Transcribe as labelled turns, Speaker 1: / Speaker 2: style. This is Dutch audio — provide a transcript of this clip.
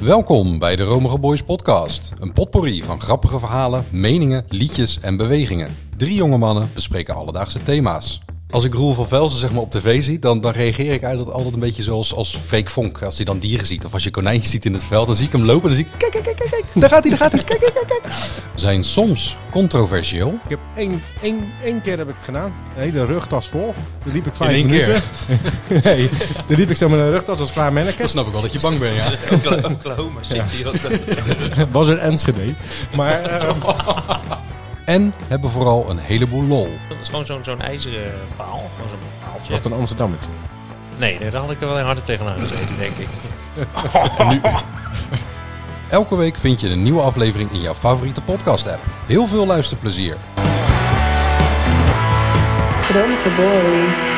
Speaker 1: Welkom bij de Romige Boys podcast. Een potpourri van grappige verhalen, meningen, liedjes en bewegingen. Drie jonge mannen bespreken alledaagse thema's. Als ik Roel van Velsen zeg maar op tv zie, dan, dan reageer ik eigenlijk altijd een beetje zoals als Freek Vonk. Als hij dan dieren ziet of als je konijntjes ziet in het veld, dan zie ik hem lopen en dan zie ik... Kijk, kijk, kijk, kijk, kijk, daar gaat hij, daar gaat hij, kijk, kijk, kijk, kijk. Zijn soms controversieel.
Speaker 2: Ik heb één, één, één keer heb ik het gedaan. Een hele rugtas vol. Toen liep ik vijf
Speaker 1: één
Speaker 2: minuten. nee, toen liep ik zo met een rugtas als klaar manneke.
Speaker 1: Dat snap ik wel dat je bang bent, ja.
Speaker 3: Okla- Oklahoma City. wat de-
Speaker 2: Was er Enschede. Maar eh,
Speaker 1: En hebben vooral een heleboel lol.
Speaker 3: Dat is gewoon zo'n zo'n ijzeren paal. Gewoon zo'n paaltje.
Speaker 2: was het een Amsterdammetje.
Speaker 3: Nee, nee, daar had ik er wel harder tegenaan gezeten, denk ik.
Speaker 1: Elke week vind je een nieuwe aflevering in jouw favoriete podcast app. Heel veel luisterplezier.
Speaker 4: Droom voor boys.